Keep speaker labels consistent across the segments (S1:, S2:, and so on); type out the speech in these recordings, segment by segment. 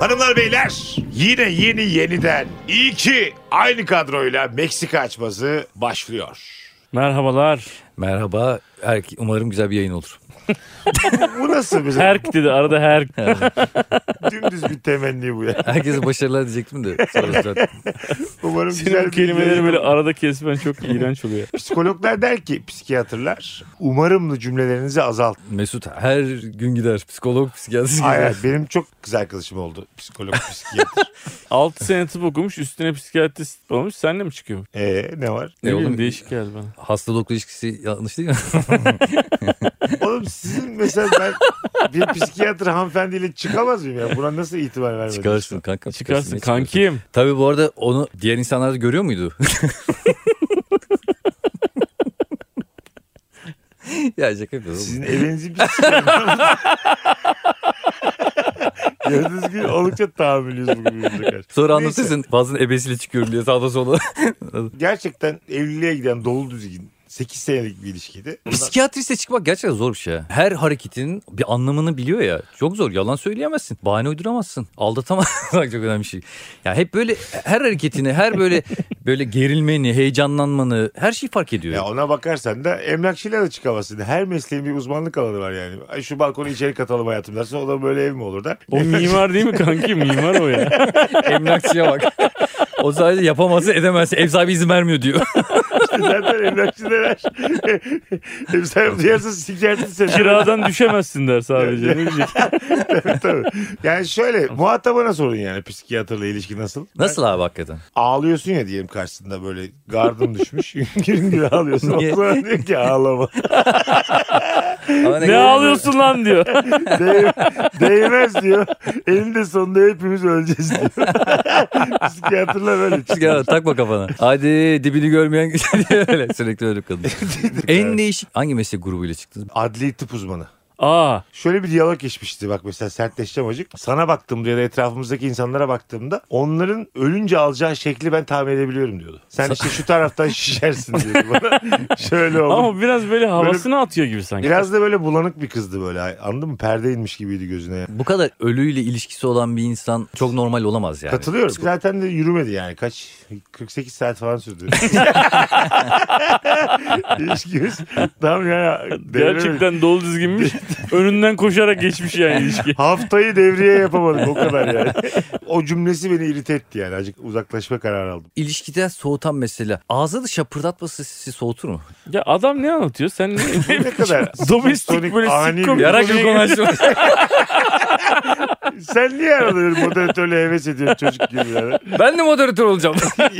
S1: Hanımlar beyler yine yeni yeniden iyi ki aynı kadroyla Meksika açması başlıyor.
S2: Merhabalar.
S3: Merhaba. Erk, umarım güzel bir yayın olur.
S1: Bu nasıl bizim
S2: Herk dedi arada herk.
S1: dümdüz bir temenni bu ya.
S3: Herkese başarılar diyecektim de. sonra zaten-
S1: Umarım
S2: Senin
S1: güzel
S2: bu
S1: bir
S2: kelimeleri
S1: yayın
S2: böyle arada kesmen çok iğrenç oluyor.
S1: Psikologlar der ki psikiyatrlar umarımlı cümlelerinizi azalt.
S3: Mesut her gün gider. Psikolog, psikiyatrist gider.
S1: Hayır hayır, benim çok kız arkadaşım oldu psikolog psikiyatr.
S2: 6 sene tıp okumuş üstüne psikiyatrist olmuş. Senle mi çıkıyor?
S1: Ee, ne var?
S2: Ne
S3: E
S2: bileyim,
S3: oğlum-
S2: değişik geldi bana.
S3: Hasta doktor ilişkisi yanlış değil mi?
S1: Oğlum sizin mesela ben bir psikiyatr hanımefendiyle çıkamaz mıyım ya? Buna nasıl itibar vermediniz?
S3: çıkarsın kanka.
S2: Çıkarsın
S3: Ne çıkarsın?
S2: kankim.
S3: Tabii bu arada onu diğer insanlar da görüyor muydu? ya şaka yapıyorum.
S1: Sizin evinizi bir sikeyim. Gördüğünüz gibi oldukça tahammülüyüz bugün birbirimize karşı.
S3: Sonra
S1: Neyse,
S3: anlatırsın bazen ebesiyle çıkıyorum diye sağda sola.
S1: Gerçekten evliliğe giden dolu düzgün 8 senelik bir ilişkiydi.
S3: Psikiyatriste çıkmak gerçekten zor bir şey. ya. Her hareketinin bir anlamını biliyor ya. Çok zor. Yalan söyleyemezsin. Bahane uyduramazsın. Aldatamazsın. Bak çok önemli bir şey. Ya hep böyle her hareketini, her böyle böyle gerilmeni, heyecanlanmanı her şeyi fark ediyor.
S1: Ya ona bakarsan da emlakçıyla da çıkamazsın. Her mesleğin bir uzmanlık alanı var yani. Ay şu balkonu içeri katalım hayatım dersin. O da böyle ev mi olur da?
S2: O mimar değil mi kanki? Mimar o ya.
S3: Emlakçıya bak. O sadece yapamazsın edemezsin. Ev sahibi izin vermiyor diyor.
S1: Zaten emlakçılar ev sahibi duyarsa sikersin seni.
S2: Kiradan düşemezsin der sadece. Ne diyecek?
S1: Tabii, tabii. Yani şöyle muhatabına sorun yani psikiyatrla ilişki nasıl?
S3: Nasıl abi hakikaten?
S1: ağlıyorsun ya diyelim karşısında böyle gardım düşmüş. Güngür güngür ağlıyorsun. O
S3: Niye?
S1: zaman diyor ki ağlama.
S3: Ama
S2: ne ağlıyorsun lan diyor.
S1: Değ- değmez diyor. Elinde sonunda hepimiz öleceğiz diyor. Psikiyatrla böyle.
S3: Ya, takma kafana. Hadi dibini görmeyen diye öyle sürekli öyle kadın. en değişik hangi meslek grubuyla çıktınız?
S1: Adli tıp uzmanı.
S2: Aa
S1: Şöyle bir diyalog geçmişti bak mesela sertleşeceğim acık. Sana baktığımda ya da etrafımızdaki insanlara baktığımda onların ölünce alacağı şekli ben tahmin edebiliyorum diyordu. Sen işte şu taraftan şişersin diyordu bana. Şöyle olur.
S2: ama biraz böyle havasını atıyor gibi sanki.
S1: Biraz da böyle bulanık bir kızdı böyle anladın mı? Perde inmiş gibiydi gözüne.
S3: Bu kadar ölüyle ilişkisi olan bir insan çok normal olamaz yani.
S1: Katılıyorum. Zaten de yürümedi yani. Kaç? 48 saat falan sürdü. İlişkimiz tam yani devremedi.
S2: Gerçekten dolu dizginmiş. Önünden koşarak geçmiş yani ilişki.
S1: Haftayı devreye yapamadım o kadar yani. o cümlesi beni irite etti yani. Azıcık uzaklaşma kararı aldım.
S3: İlişkide soğutan mesele. Ağza da şapırdatması sizi soğutur mu?
S2: Ya adam ne anlatıyor? Sen ne?
S1: Ne kadar
S2: Domestik böyle
S1: ani
S2: sitcom.
S1: bir-
S3: Yara gibi konuşma.
S1: Sen niye arada böyle moderatörle heves ediyorsun çocuk gibi yani?
S3: ben de moderatör olacağım.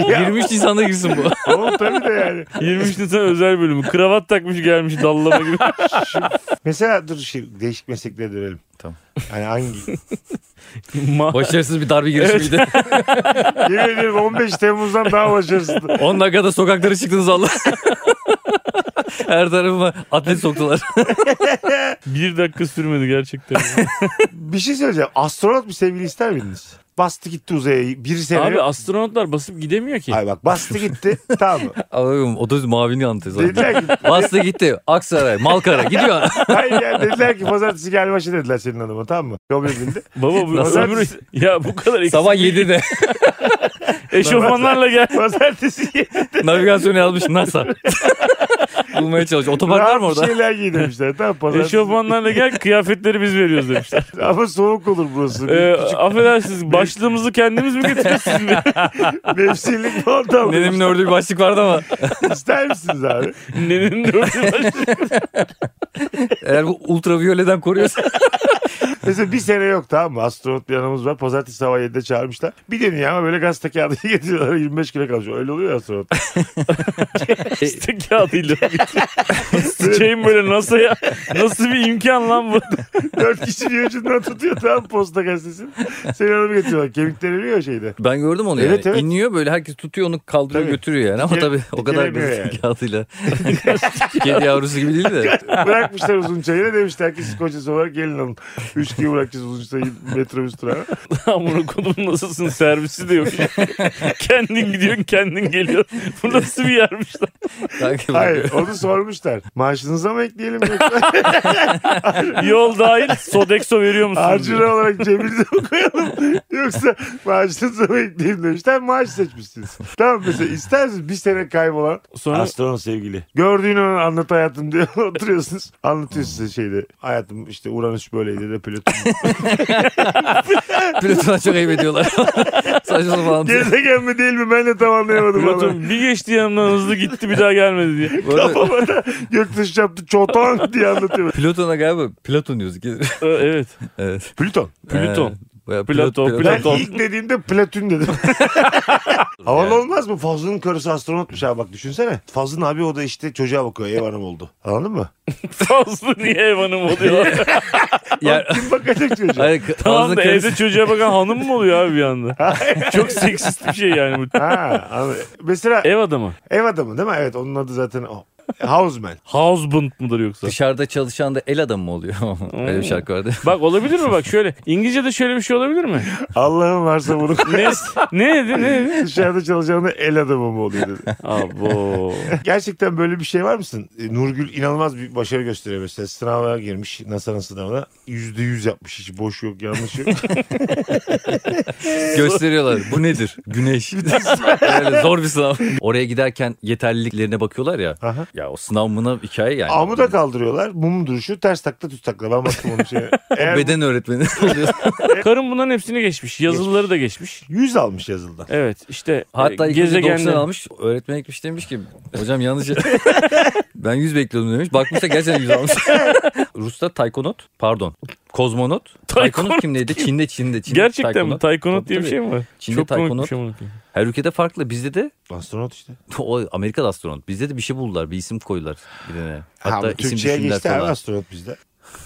S1: Ya,
S3: 23 Nisan'da girsin bu.
S1: Oğlum tabii de yani.
S2: 23 Nisan özel bölümü. Kravat takmış gelmiş dallama gibi.
S1: Mesela dur şey değişik mesleklere dönelim.
S3: Tamam.
S1: Hani hangi?
S2: Ma-
S3: Başarısız bir darbe girişimiydi.
S1: Yemin ediyorum 15 Temmuz'dan daha başarısızdı.
S3: 10 dakikada sokaklara çıktınız Allah. Her tarafıma atlet soktular.
S2: bir dakika sürmedi gerçekten.
S1: Bir şey söyleyeceğim. Astronot bir sevgili ister miydiniz? Bastı gitti uzaya bir sene.
S2: Abi astronotlar basıp gidemiyor ki.
S1: Ay bak bastı gitti tamam mı?
S3: Abim otobüs mavini anlatıyor.
S1: Dediler ki,
S3: Bastı gitti. Aksaray, Malkara gidiyor.
S1: hayır yani dediler ki pazartesi gel başı dediler senin hanıma tamam mı? Kabul edildi.
S2: Baba bu
S1: Nasıl?
S2: ömür ya bu kadar eksik.
S3: Sabah 7'de
S2: eşofmanlarla gel.
S1: Pazartesi
S3: navigasyonu yazmış NASA. Bulmaya çalışıyor. Otopark var
S1: rahat
S3: mı
S1: bir
S3: orada?
S1: şeyler giy demişler tamam pazartesi.
S2: Eşofmanlarla gel kıyafetleri biz veriyoruz demişler.
S1: Ama soğuk olur burası.
S2: Ee,
S1: Bir küçük
S2: affedersiniz başlığımızı kendimiz mi getiriyorsunuz?
S1: mevsimlik monta
S3: Nenemin ördüğü bir şey başlık vardı ama.
S1: İster misiniz abi?
S2: Nenenin dördü başlığı.
S3: Eğer bu ultraviyoleden koruyorsa.
S1: Mesela bir sene yok tamam mı? Astronot bir anımız var. Pazartesi sabah 7'de çağırmışlar. Bir deniyor ama böyle gazete kağıdı getiriyorlar. 25 kilo kalmış. Öyle oluyor ya astronot.
S2: İşte kağıdıyla. Sıçayım böyle NASA'ya. Nasıl bir imkan lan bu?
S1: Dört kişi bir ucundan tutuyor tamam mı? posta gazetesini. Seni alıp getiriyorlar. Kemikleri ölüyor şeyde.
S3: Ben gördüm onu
S1: Evet,
S3: yani.
S1: evet.
S3: İniyor böyle herkes tutuyor onu kaldırıyor
S1: Tabii.
S3: götürüyor yani. Ama
S1: Dike-
S3: tabii o kadar
S1: dikelemiyor
S3: gazete
S1: yani.
S3: kağıdıyla. Kedi yavrusu gibi değil de.
S1: Bırakmışlar uzun çayını demişler ki siz kocası olarak gelin alın. Üç gün bırakacağız uzunca metrobüs durağı.
S2: Amına kodum nasılsın servisi de yok. kendin gidiyorsun kendin geliyorsun. Bu nasıl bir yermiş lan?
S3: Takip
S1: Hayır
S3: ediyor.
S1: onu sormuşlar. Maaşınıza mı ekleyelim yoksa
S2: Yol dahil Sodexo veriyor musun?
S1: harcına olarak cebinize mi koyalım yoksa maaşınıza mı ekleyelim demişler. Maaş seçmişsiniz. Tamam mesela isterseniz bir sene kaybolan
S2: Sonra
S1: Astronot sevgili. Gördüğünü anlat hayatım diyor. Oturuyorsunuz. Anlatıyorsun size şeyde. Hayatım işte Uranüs böyleydi de Plüton.
S3: Plüton'a çok ayıp ediyorlar. Saçma sapan.
S1: Gezegen mi değil mi ben de tam anlayamadım. Plüton.
S2: Platon bir geçti yanımdan hızlı gitti bir daha gelmedi diye.
S3: Bu arada
S1: Kafama da göktaşı yaptı. Çoton diye anlatıyor.
S3: Plüton'a galiba Platon diyoruz.
S2: Ee, Evet.
S3: evet.
S1: Plüton.
S2: Plüton.
S3: Ee, bayağı
S2: Platon,
S3: Plüton.
S1: Ben
S2: Platon.
S1: ilk dediğimde Plüton dedim. Havalı olmaz mı? Fazlı'nın karısı astronotmuş abi bak düşünsene. Fazlı'nın abi o da işte çocuğa bakıyor ev hanım oldu. Anladın mı?
S2: Fazla niye ev hanım oluyor?
S3: Ya,
S1: Kim bakacak çocuğa?
S3: hayır,
S2: tamam
S3: ağzına
S2: da
S3: karıştı.
S2: evde çocuğa bakan hanım mı oluyor abi bir anda? Çok seksist bir şey yani bu.
S1: ha, anladım. mesela
S2: Ev adamı.
S1: ev adamı değil mi? Evet onun adı zaten o. Houseman.
S2: Husband mıdır yoksa?
S3: Dışarıda çalışan da el adamı mı oluyor? Öyle bir şarkı vardı.
S2: Bak olabilir mi bak şöyle. İngilizce'de şöyle bir şey olabilir mi?
S1: Allah'ım varsa bunu
S2: Ne, ne dedi ne dedi?
S1: dışarıda çalışanı el adamı mı oluyor dedi.
S2: Abo.
S1: Gerçekten böyle bir şey var mısın? E, Nurgül inanılmaz bir başarı gösteriyor mesela. Sınava girmiş NASA'nın sınavına. Yüzde yüz yapmış. Hiç boş yok yanlış yok. Hmm.
S3: Gösteriyorlar. Bu nedir? Güneş. Öyle zor bir sınav. Oraya giderken yeterliliklerine bakıyorlar ya.
S1: Aha.
S3: Ya o sınav mına hikaye yani.
S1: Amı da kaldırıyorlar. Mum duruşu ters takla düz takla. Ben baktım onun şeye. Eğer
S3: Beden öğretmeni.
S2: Karım bunların hepsini geçmiş. Yazılıları da geçmiş.
S1: 100 almış yazıldan.
S2: Evet işte
S3: Hatta
S2: e,
S3: ilk önce 90
S2: gezegenler.
S3: almış. Öğretmen gitmiş demiş ki hocam yanlış. ben 100 bekliyordum demiş. Bakmışsa gerçekten 100 almış. Rus'ta taykonot pardon kozmonot. Taykonot kim neydi? Çin'de Çin'de. Çin'de
S2: Gerçekten mi?
S3: taykonot.
S2: Taykonot
S3: Tabii,
S2: diye bir
S3: tabii.
S2: şey mi var?
S3: Çin'de
S2: Çok komik bir
S3: taykonot.
S2: şey amına koyayım.
S3: Her ülkede farklı. Bizde de
S1: Astronot işte.
S3: o Amerika'da astronot. Bizde de bir şey buldular. Bir isim koydular birine.
S1: Hatta
S3: Hatta
S1: ha, bu
S3: isim
S1: Türkçe'ye
S3: düşündüler
S1: geçti abi
S3: falan.
S1: astronot bizde.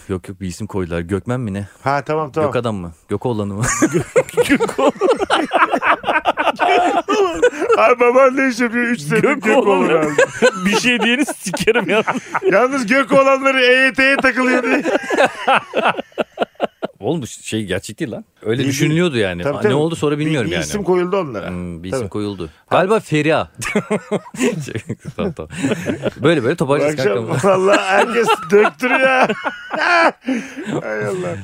S3: Yok yok bir isim koydular. Gökmen mi ne?
S1: Ha tamam tamam.
S3: Gök adam mı? Gökoğlan'ı mı?
S1: Abi baban ne iş yapıyor? 3 sene
S2: Gök
S1: gök, gök
S2: oğlan.
S1: olur abi.
S2: bir şey diyeni sikerim ya.
S1: Yalnız gök olanları EYT'ye takılıyor diye.
S3: Oğlum bu şey gerçek değil lan. Öyle
S1: Değil,
S3: düşünülüyordu yani.
S1: Tabii,
S3: Ne
S1: tabii.
S3: oldu sonra bilmiyorum
S1: bir,
S3: yani.
S1: isim koyuldu onlara.
S3: Hmm, bir isim
S1: Tabii.
S3: koyuldu. Galiba Feriha. Şey, tamam, tamam. Böyle böyle
S1: Bu
S3: toparlayacağız
S1: akşam
S3: kanka.
S1: valla herkes döktürüyor. Hay Allah.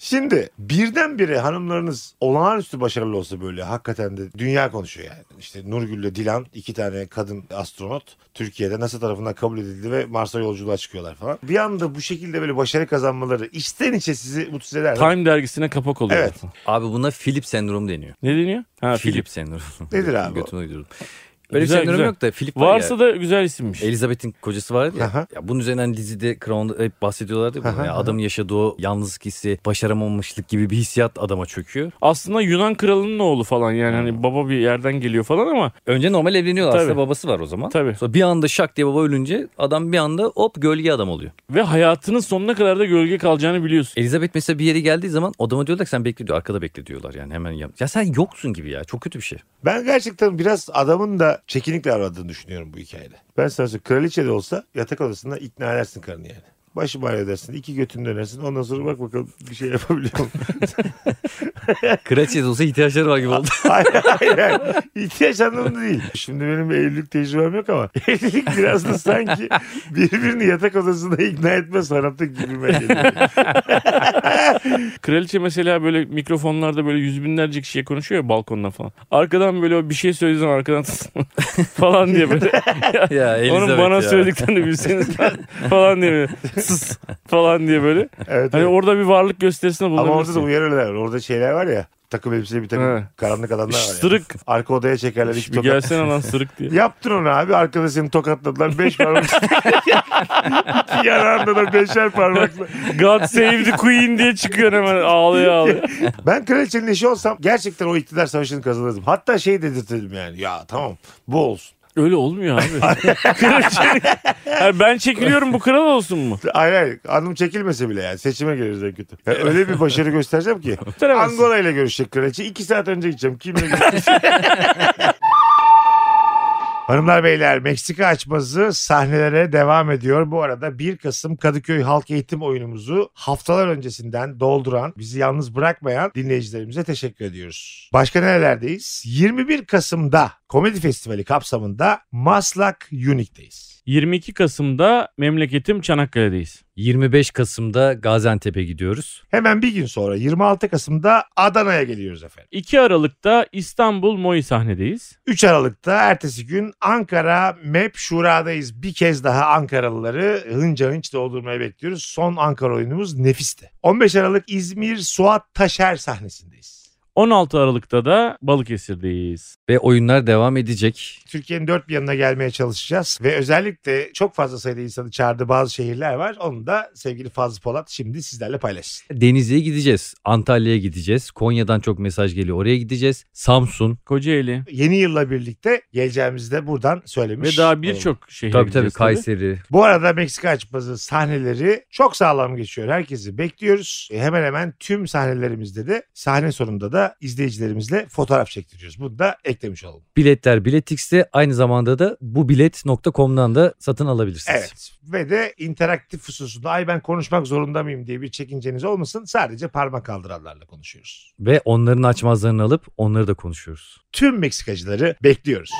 S1: Şimdi birdenbire hanımlarınız olağanüstü başarılı olsa böyle hakikaten de dünya konuşuyor yani. İşte Nurgül'le Dilan iki tane kadın astronot Türkiye'de NASA tarafından kabul edildi ve Mars'a yolculuğa çıkıyorlar falan. Bir anda bu şekilde böyle başarı kazanmaları içten içe sizi mutsuz eder. mi?
S2: Time dergisine kapak oluyor.
S1: Evet.
S3: Abi buna Philip sendromu deniyor.
S2: Ne deniyor? Ha Philip.
S3: Philip sendromu.
S1: Nedir abi o?
S3: Götüme gidiyorum. Böyle
S2: Güzel,
S3: bir sendrom
S2: güzel.
S3: yok da Philip var
S2: Varsa
S3: ya.
S2: da güzel isimmiş.
S3: Elizabeth'in kocası var
S1: Aha.
S3: ya. ya bunun üzerinden dizide Crown'da hep bahsediyorlardı. ya bundan.
S1: Aha,
S3: Ya
S1: aha.
S3: adamın yaşadığı o yalnızlık hissi, başaramamışlık gibi bir hissiyat adama çöküyor.
S2: Aslında Yunan kralının oğlu falan yani hani baba bir yerden geliyor falan ama
S3: Önce normal evleniyorlar
S2: Tabii.
S3: aslında babası var o zaman.
S2: Tabii.
S3: Sonra bir anda şak diye baba ölünce adam bir anda hop gölge adam oluyor.
S2: ve hayatının sonuna kadar da gölge kalacağını biliyorsun.
S3: Elizabeth mesela bir yere geldiği zaman adama diyorlar ki sen bekle diyor. Arkada bekle diyorlar yani hemen. Ya, ya sen yoksun gibi ya. Çok kötü bir şey.
S1: Ben gerçekten biraz adamın da çekinikle aradığını düşünüyorum bu hikayede. Ben sana söyleyeyim kraliçe de olsa yatak odasında ikna edersin karını yani. Başı bağlı edersin. iki götünü dönersin. Ondan sonra bak bakalım bir şey yapabiliyor mu?
S3: Kraliçe de olsa ihtiyaçları var gibi oldu.
S1: hayır hayır. hayır. İhtiyaç anlamında değil. Şimdi benim bir evlilik tecrübem yok ama evlilik biraz da sanki birbirini yatak odasında ikna etme sanatı gibime geliyor.
S2: Kraliçe mesela böyle mikrofonlarda böyle yüz binlerce kişiye konuşuyor ya balkondan falan. Arkadan böyle o bir şey söylediği zaman arkadan falan diye böyle.
S3: ya
S2: Onun
S3: Elizabeth
S2: bana
S3: ya.
S2: söylediklerini bilseniz falan diye böyle. Sus falan diye böyle.
S1: Evet,
S2: Hani
S1: evet.
S2: orada bir varlık gösterisinde
S1: Ama orada da
S2: bulunabilirsin.
S1: uyarırlar. Orada şeyler var ya. Takım elbiseli bir takım
S2: Evet.
S1: karanlık adamlar var ya.
S2: Sırık.
S1: Arka odaya çekerler. iki
S2: Bir
S1: tokat-
S2: gelsene lan sırık diye.
S1: Yaptın onu abi. Arkada seni tokatladılar. Beş parmak. İki yanağında da beşer parmakla.
S2: God save the queen diye çıkıyor hemen ağlıyor ağlıyor.
S1: Ben kraliçenin eşi olsam gerçekten o iktidar savaşını kazanırdım. Hatta şey dedirtirdim yani. Ya tamam bu olsun.
S2: Öyle olmuyor abi. Kraliçenin- Yani ben çekiliyorum bu kral olsun mu?
S1: Hayır hayır. Anım çekilmese bile yani. Seçime geliriz en kötü. Ya öyle bir başarı göstereceğim ki.
S2: Gösteremezsin.
S1: Angola ile görüşecek kraliçe. İki saat önce gideceğim. Kimle görüşecek? Hanımlar beyler Meksika açması sahnelere devam ediyor. Bu arada 1 Kasım Kadıköy Halk Eğitim oyunumuzu haftalar öncesinden dolduran, bizi yalnız bırakmayan dinleyicilerimize teşekkür ediyoruz. Başka nerelerdeyiz? 21 Kasım'da Komedi Festivali kapsamında Maslak Unique'deyiz.
S2: 22 Kasım'da memleketim Çanakkale'deyiz.
S3: 25 Kasım'da Gaziantep'e gidiyoruz.
S1: Hemen bir gün sonra 26 Kasım'da Adana'ya geliyoruz efendim.
S2: 2 Aralık'ta İstanbul Moi sahnedeyiz.
S1: 3 Aralık'ta ertesi gün Ankara MEP Şura'dayız. Bir kez daha Ankaralıları hınca hınç doldurmaya bekliyoruz. Son Ankara oyunumuz Nefis'te. 15 Aralık İzmir Suat Taşer sahnesindeyiz.
S2: 16 Aralık'ta da Balıkesir'deyiz.
S3: Ve oyunlar devam edecek.
S1: Türkiye'nin dört bir yanına gelmeye çalışacağız ve özellikle çok fazla sayıda insanı çağırdığı bazı şehirler var. Onu da sevgili Fazlı Polat şimdi sizlerle paylaşsın.
S3: Denizli'ye gideceğiz. Antalya'ya gideceğiz. Konya'dan çok mesaj geliyor. Oraya gideceğiz. Samsun.
S2: Kocaeli
S1: Yeni yılla birlikte geleceğimizi de buradan
S2: ve
S1: söylemiş.
S2: daha birçok şehir.
S3: Tabii tabii Kayseri.
S1: Bu arada Meksika açması sahneleri çok sağlam geçiyor. Herkesi bekliyoruz. E, hemen hemen tüm sahnelerimizde de sahne sonunda da izleyicilerimizle fotoğraf çektiriyoruz. Bunu da eklemiş olalım.
S3: Biletler Biletix'te aynı zamanda da bubilet.com'dan da satın alabilirsiniz.
S1: Evet. Ve de interaktif hususunda ay ben konuşmak zorunda mıyım diye bir çekinceniz olmasın. Sadece parmak kaldıranlarla konuşuyoruz.
S3: Ve onların açmazlarını alıp onları da konuşuyoruz.
S1: Tüm Meksikacıları bekliyoruz.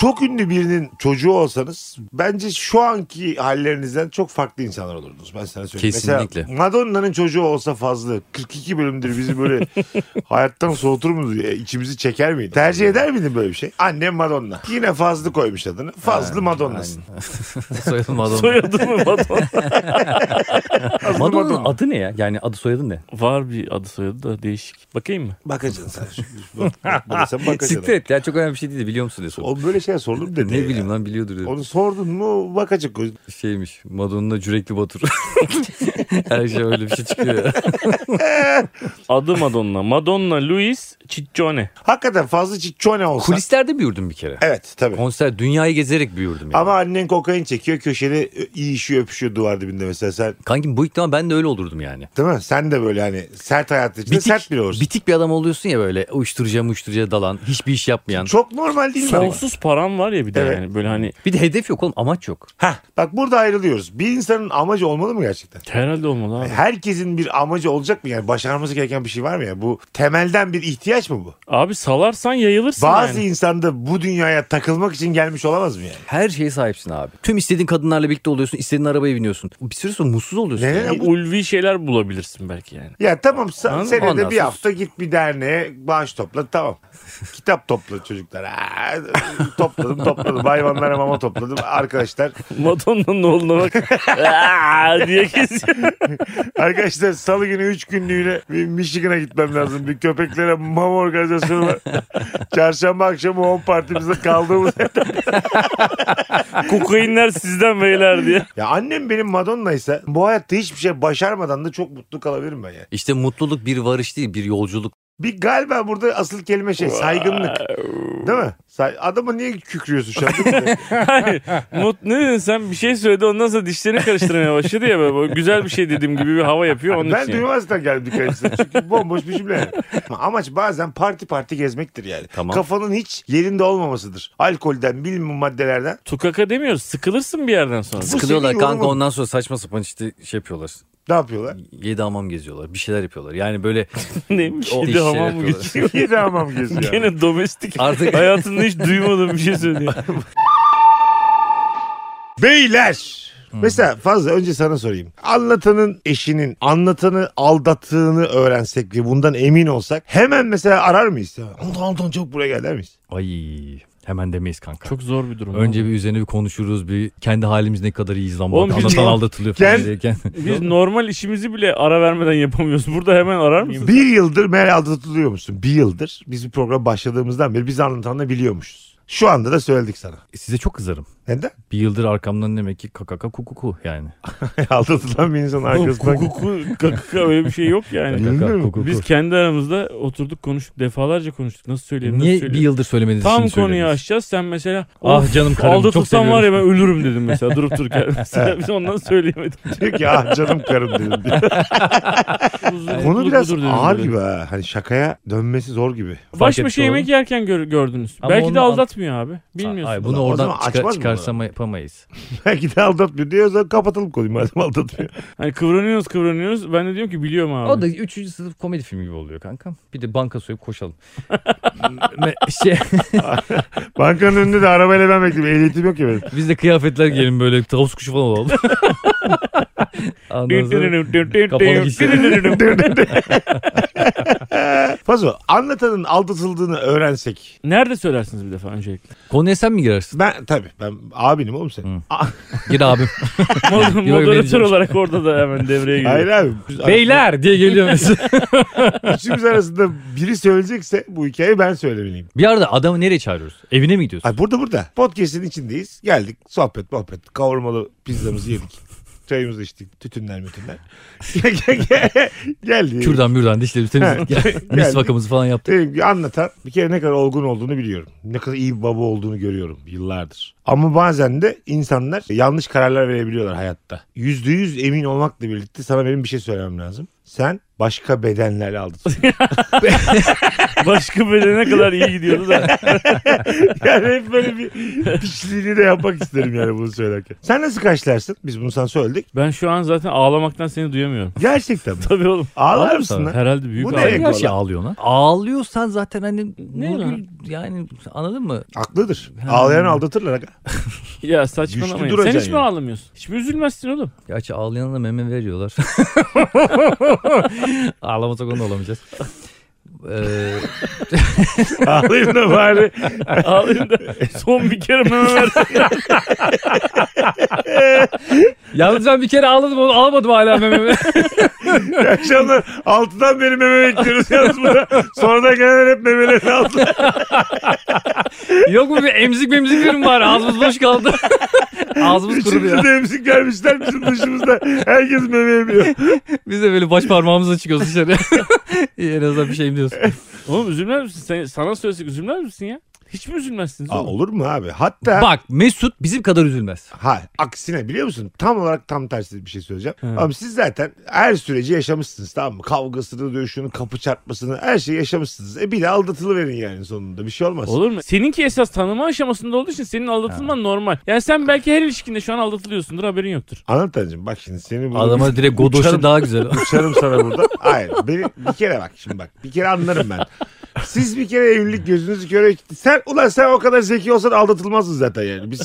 S1: Çok ünlü birinin çocuğu olsanız bence şu anki hallerinizden çok farklı insanlar olurdunuz. Ben sana söyleyeyim.
S3: Kesinlikle.
S1: Mesela Madonna'nın çocuğu olsa fazla 42 bölümdür bizi böyle hayattan soğutur muydu? ya? İçimizi çeker miydi? Tercih eder miydin böyle bir şey? Annem Madonna. Yine fazla koymuş adını. Fazlı Madonna'sın.
S3: Soyadı Madonna.
S2: Soyadı mı Madonna?
S3: Madonna'nın adı ne ya? Yani adı soyadı ne?
S2: Var bir adı soyadı da değişik. Bakayım mı?
S1: Bakacaksın sen. Bak- bak- sen
S3: Siktir
S1: bakacaksın.
S3: et ya çok önemli bir şey değil de biliyor musun diye sordum.
S1: O böyle şey sorulur mu dedi.
S3: Ne
S1: ya?
S3: bileyim lan biliyordur dedi.
S1: Onu sordun mu bakacak.
S3: Şeymiş Madonna Cürekli Batur. Her şey öyle bir şey çıkıyor ya.
S2: Adı Madonna. Madonna Luis Ciccione.
S1: Hakikaten fazla çiçone olsa.
S3: Kulislerde büyürdüm bir kere.
S1: Evet tabii.
S3: Konser dünyayı gezerek büyürdüm yani.
S1: Ama annen kokain çekiyor köşede iyi işi öpüşüyor duvar dibinde mesela sen
S3: Kankim bu ihtimal ben de öyle olurdum yani.
S1: değil mi? Sen de böyle hani sert hayatın içinde sert biri olursun.
S3: bitik bir adam oluyorsun ya böyle uyuşturucuya uyuşturucuya dalan, hiçbir iş yapmayan.
S1: Çok normal değil mi?
S2: Sonsuz param var ya bir de
S1: Evet.
S2: yani böyle hani
S3: Bir de hedef yok oğlum amaç yok.
S1: Heh, bak burada ayrılıyoruz. Bir insanın amacı olmalı mı gerçekten?
S2: herhalde olmalı abi.
S1: Herkesin bir amacı olacak mı? Yani başarması gereken bir şey var mı ya? Bu temelden bir ihtiyaç mı bu?
S2: Abi salarsan yayılırsın
S1: Bazı
S2: yani.
S1: insanda bu dünyaya takılmak için gelmiş olamaz mı yani?
S3: Her şeye sahipsin abi. Tüm istediğin kadınlarla birlikte oluyorsun, istediğin arabaya biniyorsun. Bir süre sonra mutsuz oluyorsun.
S1: Neden
S3: ya.
S1: ama-
S2: Ulvi şeyler bulabilirsin belki yani.
S1: Ya tamam sen,
S3: Anladın mı?
S1: senede
S3: Ondan
S1: bir
S3: sonra-
S1: hafta git bir derneğe bağış topla tamam. Kitap topla çocuklar. Aa, topladım topladım. Hayvanlara mama topladım. Arkadaşlar
S2: Madonna'nın oğluna bak. Aa diye kesiyor.
S1: Arkadaşlar salı günü 3 günlüğüne bir Michigan'a gitmem lazım. Bir köpeklere mama organizasyonu var. Çarşamba akşamı home partimizde kaldığımız.
S2: Kokainler sizden beyler diye.
S1: ya annem benim Madonna'ysa bu hayatta hiçbir şey başarmadan da çok mutlu kalabilirim ben ya.
S3: İşte mutluluk bir varış değil, bir yolculuk.
S1: Bir galiba burada asıl kelime şey saygınlık. Değil mi? Say- Adama niye kükrüyorsun şu an?
S2: Hayır. Mut, ne dedin sen bir şey söyledi ondan sonra dişlerini karıştırmaya başladı ya böyle, Böyle güzel bir şey dediğim gibi bir hava yapıyor onun
S1: ben
S2: için. yani.
S1: duymazdan geldim dikkat etsin. Çünkü bomboş bir cümle. yani. Amaç bazen parti parti gezmektir yani.
S3: Tamam.
S1: Kafanın hiç yerinde olmamasıdır. Alkolden, bilmem maddelerden.
S2: Tukaka demiyoruz sıkılırsın bir yerden sonra.
S1: Bu şey
S3: Sıkılıyorlar
S1: senin
S3: kanka
S1: yorumun.
S3: ondan sonra saçma sapan işte şey yapıyorlar.
S1: Ne yapıyorlar?
S3: Yedi hamam geziyorlar, bir şeyler yapıyorlar. Yani böyle
S2: Neymiş?
S3: O
S2: Yedi
S3: işleri
S2: hamam mı
S3: yapıyorlar.
S2: geçiyor?
S1: Yedi hamam geziyor.
S2: Gene domestik.
S3: Artık-
S2: Hayatımda hiç duymadığım bir şey söylüyor.
S1: Beyler. Mesela fazla önce sana sorayım. Anlatanın eşinin anlatanı aldattığını öğrensek ve bundan emin olsak hemen mesela arar mıyız? Ya, Anlatan anlatan çok buraya gel der miyiz?
S3: ay hemen demeyiz kanka.
S2: Çok zor bir durum.
S3: Önce bir üzerine bir konuşuruz. Bir kendi halimiz ne kadar iyiyiz lan. bu
S2: Oğlum
S3: arada.
S2: biz-
S3: Anlatan aldatılıyor falan
S1: şey Gel-
S3: diyeken.
S2: Biz normal işimizi bile ara vermeden yapamıyoruz. Burada hemen arar mısın?
S1: Bir yıldır meğer aldatılıyor musun? Bir yıldır. Biz bir program başladığımızdan beri biz anlatanla biliyormuşuz. Şu anda da söyledik sana.
S3: Size çok kızarım.
S1: Neden?
S3: Bir yıldır arkamdan demek ki kakaka kukuku yani.
S1: Aldatılan bir insan
S2: Oğlum,
S1: arkasından.
S2: Kukuku kakaka öyle bir şey yok yani.
S1: Bilmiyorum.
S3: Kakaka kukuku.
S2: Biz kendi aramızda oturduk konuştuk defalarca konuştuk. Nasıl söyleyelim nasıl
S3: Niye bir
S2: söyleyelim.
S3: yıldır söylemediniz?
S2: Tam
S3: şimdi
S2: konuyu
S3: söylediniz?
S2: açacağız sen mesela
S3: Ah canım karım çok
S2: aldatılsam
S3: seviyorum.
S2: var ya ben ölürüm dedim mesela durup dururken. Mesela biz ondan söyleyemedik.
S1: Diyor ki ah canım karım dedim. diyor.
S2: Huzur-
S1: Konu
S2: huzur
S1: biraz
S2: dedim
S1: ağır
S2: böyle.
S1: gibi ha. Hani şakaya dönmesi zor gibi.
S2: Baş
S3: Fark
S2: başa
S3: etti
S2: yemek yerken gör- gördünüz.
S3: Ama
S2: Belki de
S3: onu
S2: Etmiyor abi. Bilmiyorsun.
S3: Ay,
S1: O
S3: bunu oradan
S1: zaman açmaz mı
S3: çıkar, çıkarsam yapamayız.
S1: Belki de aldatmıyor diyor. O zaman kapatalım konuyu madem aldatmıyor.
S2: Hani kıvranıyoruz kıvranıyoruz. Ben de diyorum ki biliyorum abi.
S3: O da 3. sınıf komedi filmi gibi oluyor kankam. Bir de banka soyup koşalım. Me- şey,
S1: Bankanın önünde de arabayla ben bekliyorum. Ehliyetim yok ya benim.
S3: biz de kıyafetler giyelim böyle tavus kuşu falan olalım. Ondan sonra kapalı giysi.
S1: Fazla anlatanın aldatıldığını öğrensek.
S2: Nerede söylersiniz bir defa öncelikle?
S3: Konuya sen mi girersin?
S1: Ben tabii ben abinim oğlum sen.
S3: Hı.
S1: A-
S3: Gir abim.
S2: Mod-
S3: Yok,
S2: Moderatör
S3: vereceğim.
S2: olarak orada da hemen devreye giriyor.
S1: Hayır abi. Biz-
S3: Beyler diye geliyor mesela.
S1: Üçümüz arasında biri söyleyecekse bu hikayeyi ben söylemeliyim.
S3: bir arada adamı nereye çağırıyoruz? Evine mi gidiyorsun?
S1: Ay burada burada. Podcast'in içindeyiz. Geldik sohbet muhabbet. Kavurmalı pizzamızı yedik. Çayımızı içtik. Tütünler mütünler. Geldi.
S3: Kürdan mürdan dişleri temizledik.
S1: Geldik.
S3: Mis vakamızı falan yaptık.
S1: Dedim ki anlatan bir kere ne kadar olgun olduğunu biliyorum. Ne kadar iyi bir baba olduğunu görüyorum yıllardır. Ama bazen de insanlar yanlış kararlar verebiliyorlar hayatta. Yüzde yüz emin olmakla birlikte sana benim bir şey söylemem lazım. Sen başka bedenlerle aldın.
S2: Başka bedene kadar iyi gidiyordu da.
S1: yani hep böyle bir piçliğini de yapmak isterim yani bunu söylerken. Sen nasıl karşılarsın? Biz bunu sana söyledik.
S2: Ben şu an zaten ağlamaktan seni duyamıyorum.
S1: Gerçekten mi?
S2: Tabii oğlum.
S1: Ağlar
S3: Ağlarım
S1: mısın
S3: tabii.
S1: lan?
S2: Herhalde büyük
S1: Bu ne?
S2: ağlamak.
S1: Eyvallah.
S3: Her şey ağlıyor lan. Ağlıyorsan zaten hani
S2: Ne
S3: Nurgül
S2: lan?
S3: yani anladın mı?
S1: Haklıdır. Ağlayan aldatırlar. aga.
S2: Ya
S1: Güçlü
S2: saçmalamayın. Sen
S1: duracaksın
S2: hiç mi
S1: yani.
S2: ağlamıyorsun? Hiç mi üzülmezsin oğlum?
S3: Gerçi ağlayana da meme veriyorlar. Ağlamasak onu da olamayacağız. Ee,
S1: Ağlayayım da bari.
S2: Ağlayayım da son bir kere meme ver.
S3: yalnız ben bir kere ağladım onu alamadım hala mememi.
S1: İyi Akşamlar altıdan beri meme bekliyoruz yalnız burada. Sonradan gelenler hep memelerin altı.
S3: Yok mu bir emzik memzik birim var ağzımız boş kaldı. ağzımız kurudu ya.
S1: Üçümüzü de emzik vermişler bizim dışımızda. Herkes meme emiyor.
S3: Biz de böyle baş parmağımızla çıkıyoruz dışarı. İyi, en azından bir şeyim diyorsun.
S2: oğlum üzülmez misin? Sen, sana söylesek üzülmez misin ya? Hiç mi üzülmezsiniz
S1: Aa,
S2: oğlum?
S1: olur mu abi? Hatta
S3: Bak Mesut bizim kadar üzülmez.
S1: Ha, aksine biliyor musun? Tam olarak tam tersi bir şey söyleyeceğim.
S2: He.
S1: Ama siz zaten her süreci yaşamışsınız tamam mı? Kavgasını, dövüşünü, kapı çarpmasını her şeyi yaşamışsınız. E bir de aldatılıverin yani sonunda bir şey olmaz.
S2: Olur mu? Seninki esas tanıma aşamasında olduğu için senin aldatılman normal. Yani sen belki her ilişkinde şu an aldatılıyorsundur haberin yoktur.
S1: Anlatancığım bak şimdi seni bu...
S3: Adama direkt Godoş'ta
S1: Uçarım.
S3: daha güzel.
S1: Uçarım sana burada. Hayır. Beni bir kere bak şimdi bak. Bir kere anlarım ben. Siz bir kere evlilik gözünüzü köre sen ulan sen o kadar zeki olsan aldatılmazdın zaten yani. Biz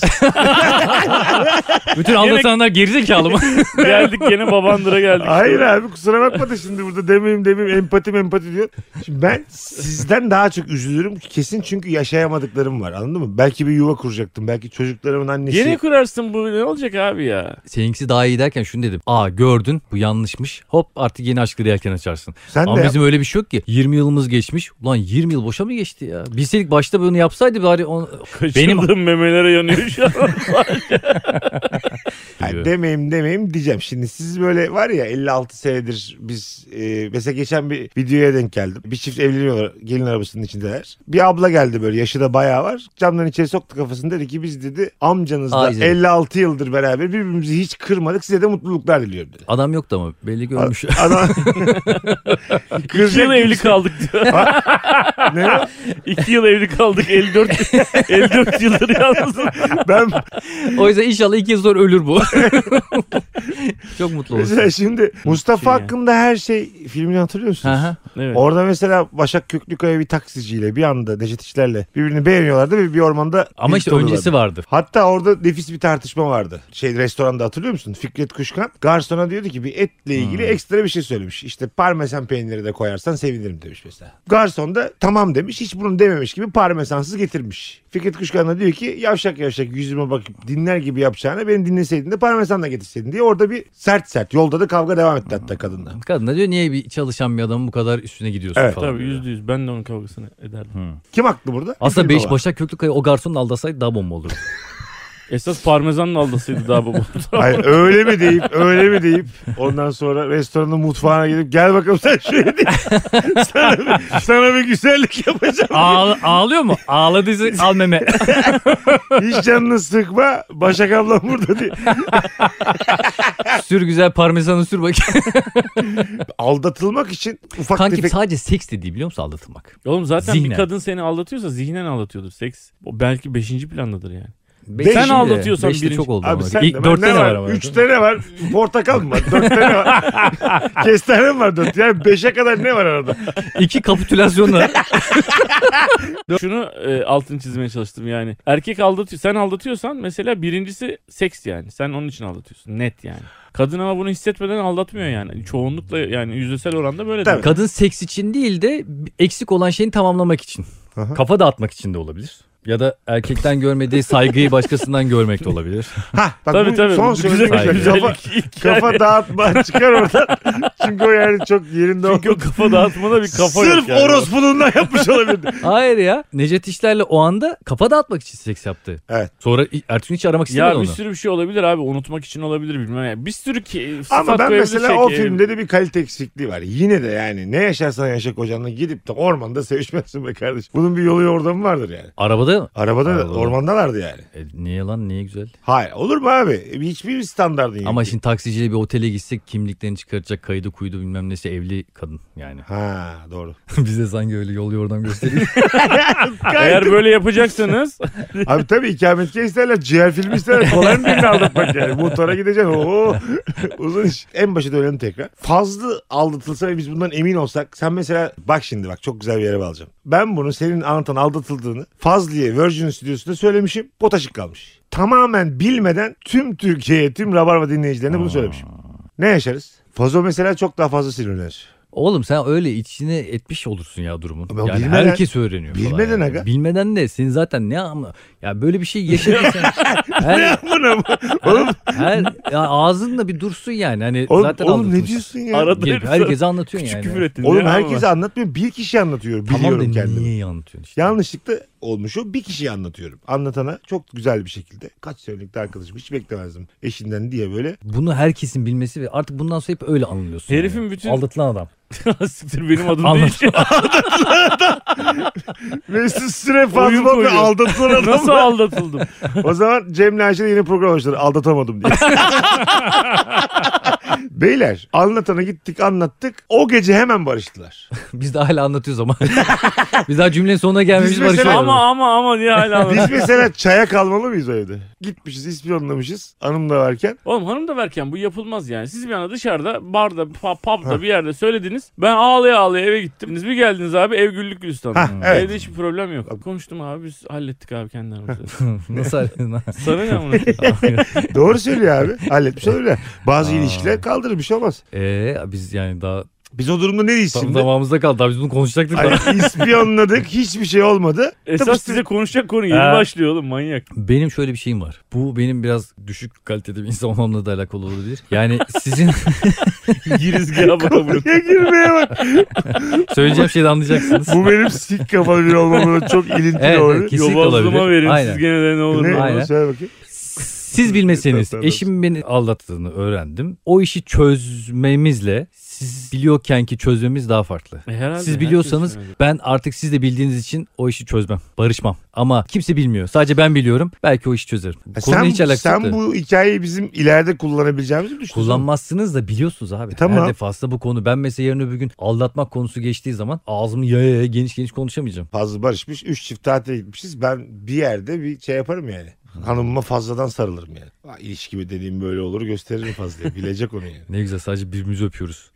S3: Bütün aldatanlar gerizekalı mı?
S2: geldik gene babandıra geldik.
S1: hayır abi kusura bakma da şimdi burada demeyim demeyim empati empati diyor. Şimdi ben sizden daha çok üzülürüm kesin çünkü yaşayamadıklarım var anladın mı? Belki bir yuva kuracaktım. Belki çocuklarımın annesi.
S2: Gene kurarsın bu ne olacak abi ya?
S3: Seninkisi daha iyi derken şunu dedim. Aa gördün bu yanlışmış. Hop artık yeni aşkları yelken açarsın.
S1: sen
S3: Ama
S1: de
S3: bizim öyle bir şey yok ki. 20 yılımız geçmiş. Ulan 20 yıl boşa mı geçti ya? Bilseydik başta bunu yapsaydı bari on... Benim-
S2: Kaçırdığım memelere yanıyor şu an.
S1: Hayır, demeyim demeyim diyeceğim. Şimdi siz böyle var ya 56 senedir biz e, mesela geçen bir videoya denk geldim. Bir çift evleniyorlar gelin arabasının içindeler. Bir abla geldi böyle yaşı da bayağı var. Camdan içeri soktu kafasını dedi ki biz dedi amcanızla
S3: Ay canım.
S1: 56 yıldır beraber birbirimizi hiç kırmadık size de mutluluklar diliyorum dedi.
S3: Adam yoktu ama belli ki ölmüş.
S1: Adam...
S2: İki yıl evli kaldık diyor.
S1: Ne?
S2: İki yıl evli kaldık 54, 54 yıldır yalnız.
S1: Ben
S3: o yüzden inşallah iki yıl sonra ölür bu. Çok mutlu olursun.
S1: mesela şimdi Mustafa
S2: Şey ya.
S1: hakkında her şey filmini hatırlıyor
S3: Hı
S1: musunuz?
S3: hı.
S2: Evet.
S1: Orada mesela Başak Köklükaya bir taksiciyle bir anda Necdet İşler'le birbirini beğeniyorlardı ve bir ormanda
S3: ama işte
S1: birlikte
S3: öncesi
S1: oluyorlardı.
S3: vardı.
S1: Hatta orada nefis bir tartışma vardı. Şey restoranda hatırlıyor musun? Fikret Kuşkan garsona diyordu ki bir etle ilgili
S3: Hmm.
S1: ekstra bir şey söylemiş. İşte parmesan peyniri de koyarsan sevinirim demiş mesela. Garson da tamam demiş hiç bunu dememiş gibi parmesansız getirmiş. Fikret Kuşkan da diyor ki yavşak yavşak yüzüme bakıp dinler gibi yapacağına beni dinleseydin de parmesanla getirseydin diye orada bir sert sert yolda da kavga devam etti hatta kadınla.
S3: Kadın da diyor niye bir çalışan bir adamın bu kadar üstüne gidiyorsun
S1: Evet,
S3: falan.
S2: Tabii
S3: böyle.
S2: yüzde yüz. Ben de onun kavgasını ederdim.
S1: Kim haklı burada?
S3: Aslında
S1: Fikri
S3: beş
S1: Baba.
S3: Başak Köklükaya o garsonu aldasaydı daha bomba olurdu.
S2: Esas parmesanla aldasıydı daha baba.
S1: Hayır, öyle mi deyip öyle mi deyip ondan sonra restoranın mutfağına gidip gel bakalım sen şöyle deyip sana, bir- sana bir güzellik yapacağım.
S3: Ağla- ağlıyor mu? Ağladıysa al meme.
S1: Hiç canını sıkma Başak ablam burada diye.
S3: sür güzel parmesanı sür bak.
S1: Aldatılmak için ufak
S3: Kanki
S1: tefek
S3: sadece seks dediği biliyor musun aldatılmak?
S2: Oğlum zaten bir
S3: Zihnen.
S2: kadın seni aldatıyorsa zihnen aldatıyordur. Seks o belki beşinci plandadır yani.
S3: Beşte-
S1: Sen
S2: aldatıyorsan
S3: beşte
S2: birinci-
S3: çok oldu.
S1: Abi
S3: ama.
S1: sen
S3: İlk
S1: de
S3: dörtte
S1: ne
S3: de
S1: var?
S3: ama.
S1: Üç tane var. Portakal mı var? Dört tane var. Kestane mi var dört? Yani beşe kadar ne var arada?
S3: İki kapitülasyonla.
S2: Şunu e, altını çizmeye çalıştım yani. Erkek aldatıyor. Sen aldatıyorsan mesela birincisi seks yani. Sen onun için aldatıyorsun. Net yani. Kadın ama bunu hissetmeden aldatmıyor yani. Çoğunlukla yani yüzdesel oranda böyle.
S1: Tabii.
S2: Tabii.
S3: Kadın seks için değil de eksik olan şeyini tamamlamak için.
S1: Aha.
S3: Kafa dağıtmak için de olabilir. Ya da erkekten görmediği saygıyı başkasından görmek de olabilir.
S1: Ha, bak
S2: Tabii
S1: bu
S2: tabii.
S1: Son
S2: Güzel-
S1: söylediğim
S3: Hayır.
S1: şey. Kafa, kafa dağıtma çıkar oradan. Çünkü o yani çok yerinde
S2: Çünkü o
S1: oldu.
S2: kafa dağıtmada bir kafa yok
S1: Sırf
S2: yani.
S1: orospunluğundan yapmış olabilir.
S3: Hayır ya. Necet İşler'le o anda kafa dağıtmak için seks yaptı.
S1: Evet.
S3: Sonra i- Ertuğrul hiç aramak istemedi
S2: Ya bir
S3: onu.
S2: sürü bir şey olabilir abi. Unutmak için olabilir bilmem. Yani. Bir sürü ki, e,
S1: Ama
S2: sıfat
S1: ben
S2: koyabilir
S1: mesela o
S2: şey-
S1: filmde de bir kalite eksikliği var. Yine de yani ne yaşarsan yaşa kocanla gidip de ormanda sevişmezsin be kardeşim. Bunun bir yolu yordamı vardır yani.
S3: Arabada mı?
S1: Arabada, da
S3: Arabada.
S1: ormandalardı yani.
S3: E, niye lan niye güzel?
S1: Hayır olur mu abi? Hiçbir standardın yok.
S3: Ama şimdi taksiciyle bir otele gitsek kimliklerini çıkaracak kaydı kuydu bilmem nesi evli kadın yani.
S1: Ha doğru.
S3: Biz de sanki öyle yol yordan gösteriyor.
S2: Eğer böyle yapacaksanız
S1: Abi tabii ikametgah isterler, ciğer filmi isterler. Kolay mı birini aldatmak yani? Motora gideceksin. Oo. Uzun iş. En başa dönelim tekrar. Fazla aldatılsa ve biz bundan emin olsak. Sen mesela bak şimdi bak çok güzel bir yere bağlayacağım. Ben bunu senin anlatan aldatıldığını Fazlı'ya Virgin Stüdyosu'nda söylemişim. Potaşık kalmış. Tamamen bilmeden tüm Türkiye'ye, tüm Rabarba dinleyicilerine bunu söylemişim. Ne yaşarız? Fazo mesela çok daha fazla sinirlenir.
S3: Oğlum sen öyle içine etmiş olursun ya durumun.
S1: Ama
S3: yani
S1: bilmeden-
S3: herkes öğreniyor. falan
S1: Bilmeden
S3: yani.
S1: aga.
S3: Bilmeden de senin zaten ne ama ya böyle bir şey yaşadıysan her,
S1: Buna mı? Oğlum,
S3: her ya ağzınla bir dursun yani. Hani
S1: oğlum,
S3: zaten
S1: oğlum ne
S3: aldatılmış.
S1: diyorsun ya?
S2: Arada
S3: Gelip
S2: herif
S3: herkese anlatıyorsun
S2: küçük
S3: yani.
S2: küfür ettin.
S1: Oğlum
S2: ya
S1: herkese
S2: ama.
S1: anlatmıyorum. Bir kişi anlatıyor.
S3: Tamam
S1: Biliyorum
S3: da
S1: kendimi.
S3: niye anlatıyorsun işte?
S1: Yanlışlıkla olmuş o. Bir kişiyi anlatıyorum. Anlatana çok güzel bir şekilde. Kaç senelik de arkadaşım. Hiç beklemezdim. Eşinden diye böyle.
S3: Bunu herkesin bilmesi ve artık bundan sonra hep öyle anlıyorsun.
S2: Herifin
S3: yani.
S2: bütün-
S3: Aldatılan adam.
S2: Siktir benim adım
S3: Anlat.
S2: değil.
S1: Mesut Süre
S2: Oyun
S1: fazla ve
S2: koyuyor.
S1: aldatılan adam.
S2: Nasıl aldatıldım?
S1: o zaman Cem'le Ayşe de yeni program başladı. Aldatamadım diye. Beyler anlatana gittik anlattık. O gece hemen barıştılar.
S3: Biz de hala anlatıyoruz ama. Biz daha cümlenin sonuna gelmemiş
S1: Biz mesela-
S3: barışıyoruz.
S2: ama ama ama diye hala
S1: Biz
S2: anlatıyor.
S1: mesela çaya kalmalı mıyız o evde? Gitmişiz ispiyonlamışız hanım da varken.
S2: Oğlum hanım da verken bu yapılmaz yani. Siz bir anda dışarıda barda, pa- pub'da bir yerde söylediniz. Ben ağlaya ağlaya eve gittim. Siz bir geldiniz abi ev güllük gülistanlı.
S1: Ha, evet.
S2: Evde hiçbir problem yok. Konuştum abi biz hallettik abi kendi aramızda.
S3: Nasıl?
S2: Sana ne amına?
S1: Doğru söylüyor abi. Halletmiş olabilir. Bazı ilişkiler kaldırır bir şey olmaz.
S3: Eee Ee, biz yani daha
S1: Biz o durumda ne diyeceğiz
S3: tam
S1: şimdi?
S3: damağımızda kaldı. Daha biz bunu konuşacaktık. da.
S1: Hani ispiyonladık hiçbir şey olmadı. Tabii
S2: Esas size konuşacak konu yeni
S3: Ha.
S2: başlıyor oğlum manyak.
S3: Benim şöyle bir şeyim var. Bu benim biraz düşük kalitede bir insan olmamla da alakalı olabilir. Yani sizin
S2: Girizgaha bakalım.
S1: Konuya girmeye bak.
S3: söyleyeceğim şeyi de anlayacaksınız.
S1: Bu benim sik kafalı bir olmamla çok ilintili
S3: Evet,
S1: olabilir.
S3: kesinlikle
S2: Yobazlığıma
S3: olabilir.
S2: verin
S3: Aynen.
S2: siz gene de ne olur.
S1: Ne?
S2: Ne?
S3: Aynen.
S1: Söyle bakayım.
S3: Siz bilmeseniz
S1: Tamam.
S3: eşim beni aldattığını öğrendim. O işi çözmemizle siz biliyorken ki çözmemiz daha farklı.
S2: E, herhalde
S3: Siz
S2: herkes
S3: biliyorsanız
S2: öyledir.
S3: ben artık siz de bildiğiniz için o işi çözmem. Barışmam. Ama kimse bilmiyor. Sadece ben biliyorum. Belki o işi çözerim. Konuyla hiç
S1: E Sen,
S3: alakası
S1: sen
S3: yok.
S1: bu hikayeyi bizim ileride kullanabileceğimizi mi düşünüyorsun?
S3: Kullanmazsınız da biliyorsunuz abi.
S1: tamam.
S3: Her defasında bu konu. Ben mesela yarın öbür gün aldatmak konusu geçtiği zaman ağzımı yaya yaya geniş geniş konuşamayacağım.
S1: Fazla barışmış. Üç çift tatile gitmişiz. Ben bir yerde bir şey yaparım yani. Hanımıma fazladan sarılırım yani. Aa, İlişkimi dediğim böyle olur gösteririm fazla. Bilecek onu yani.
S3: Ne güzel sadece birbirimizi öpüyoruz.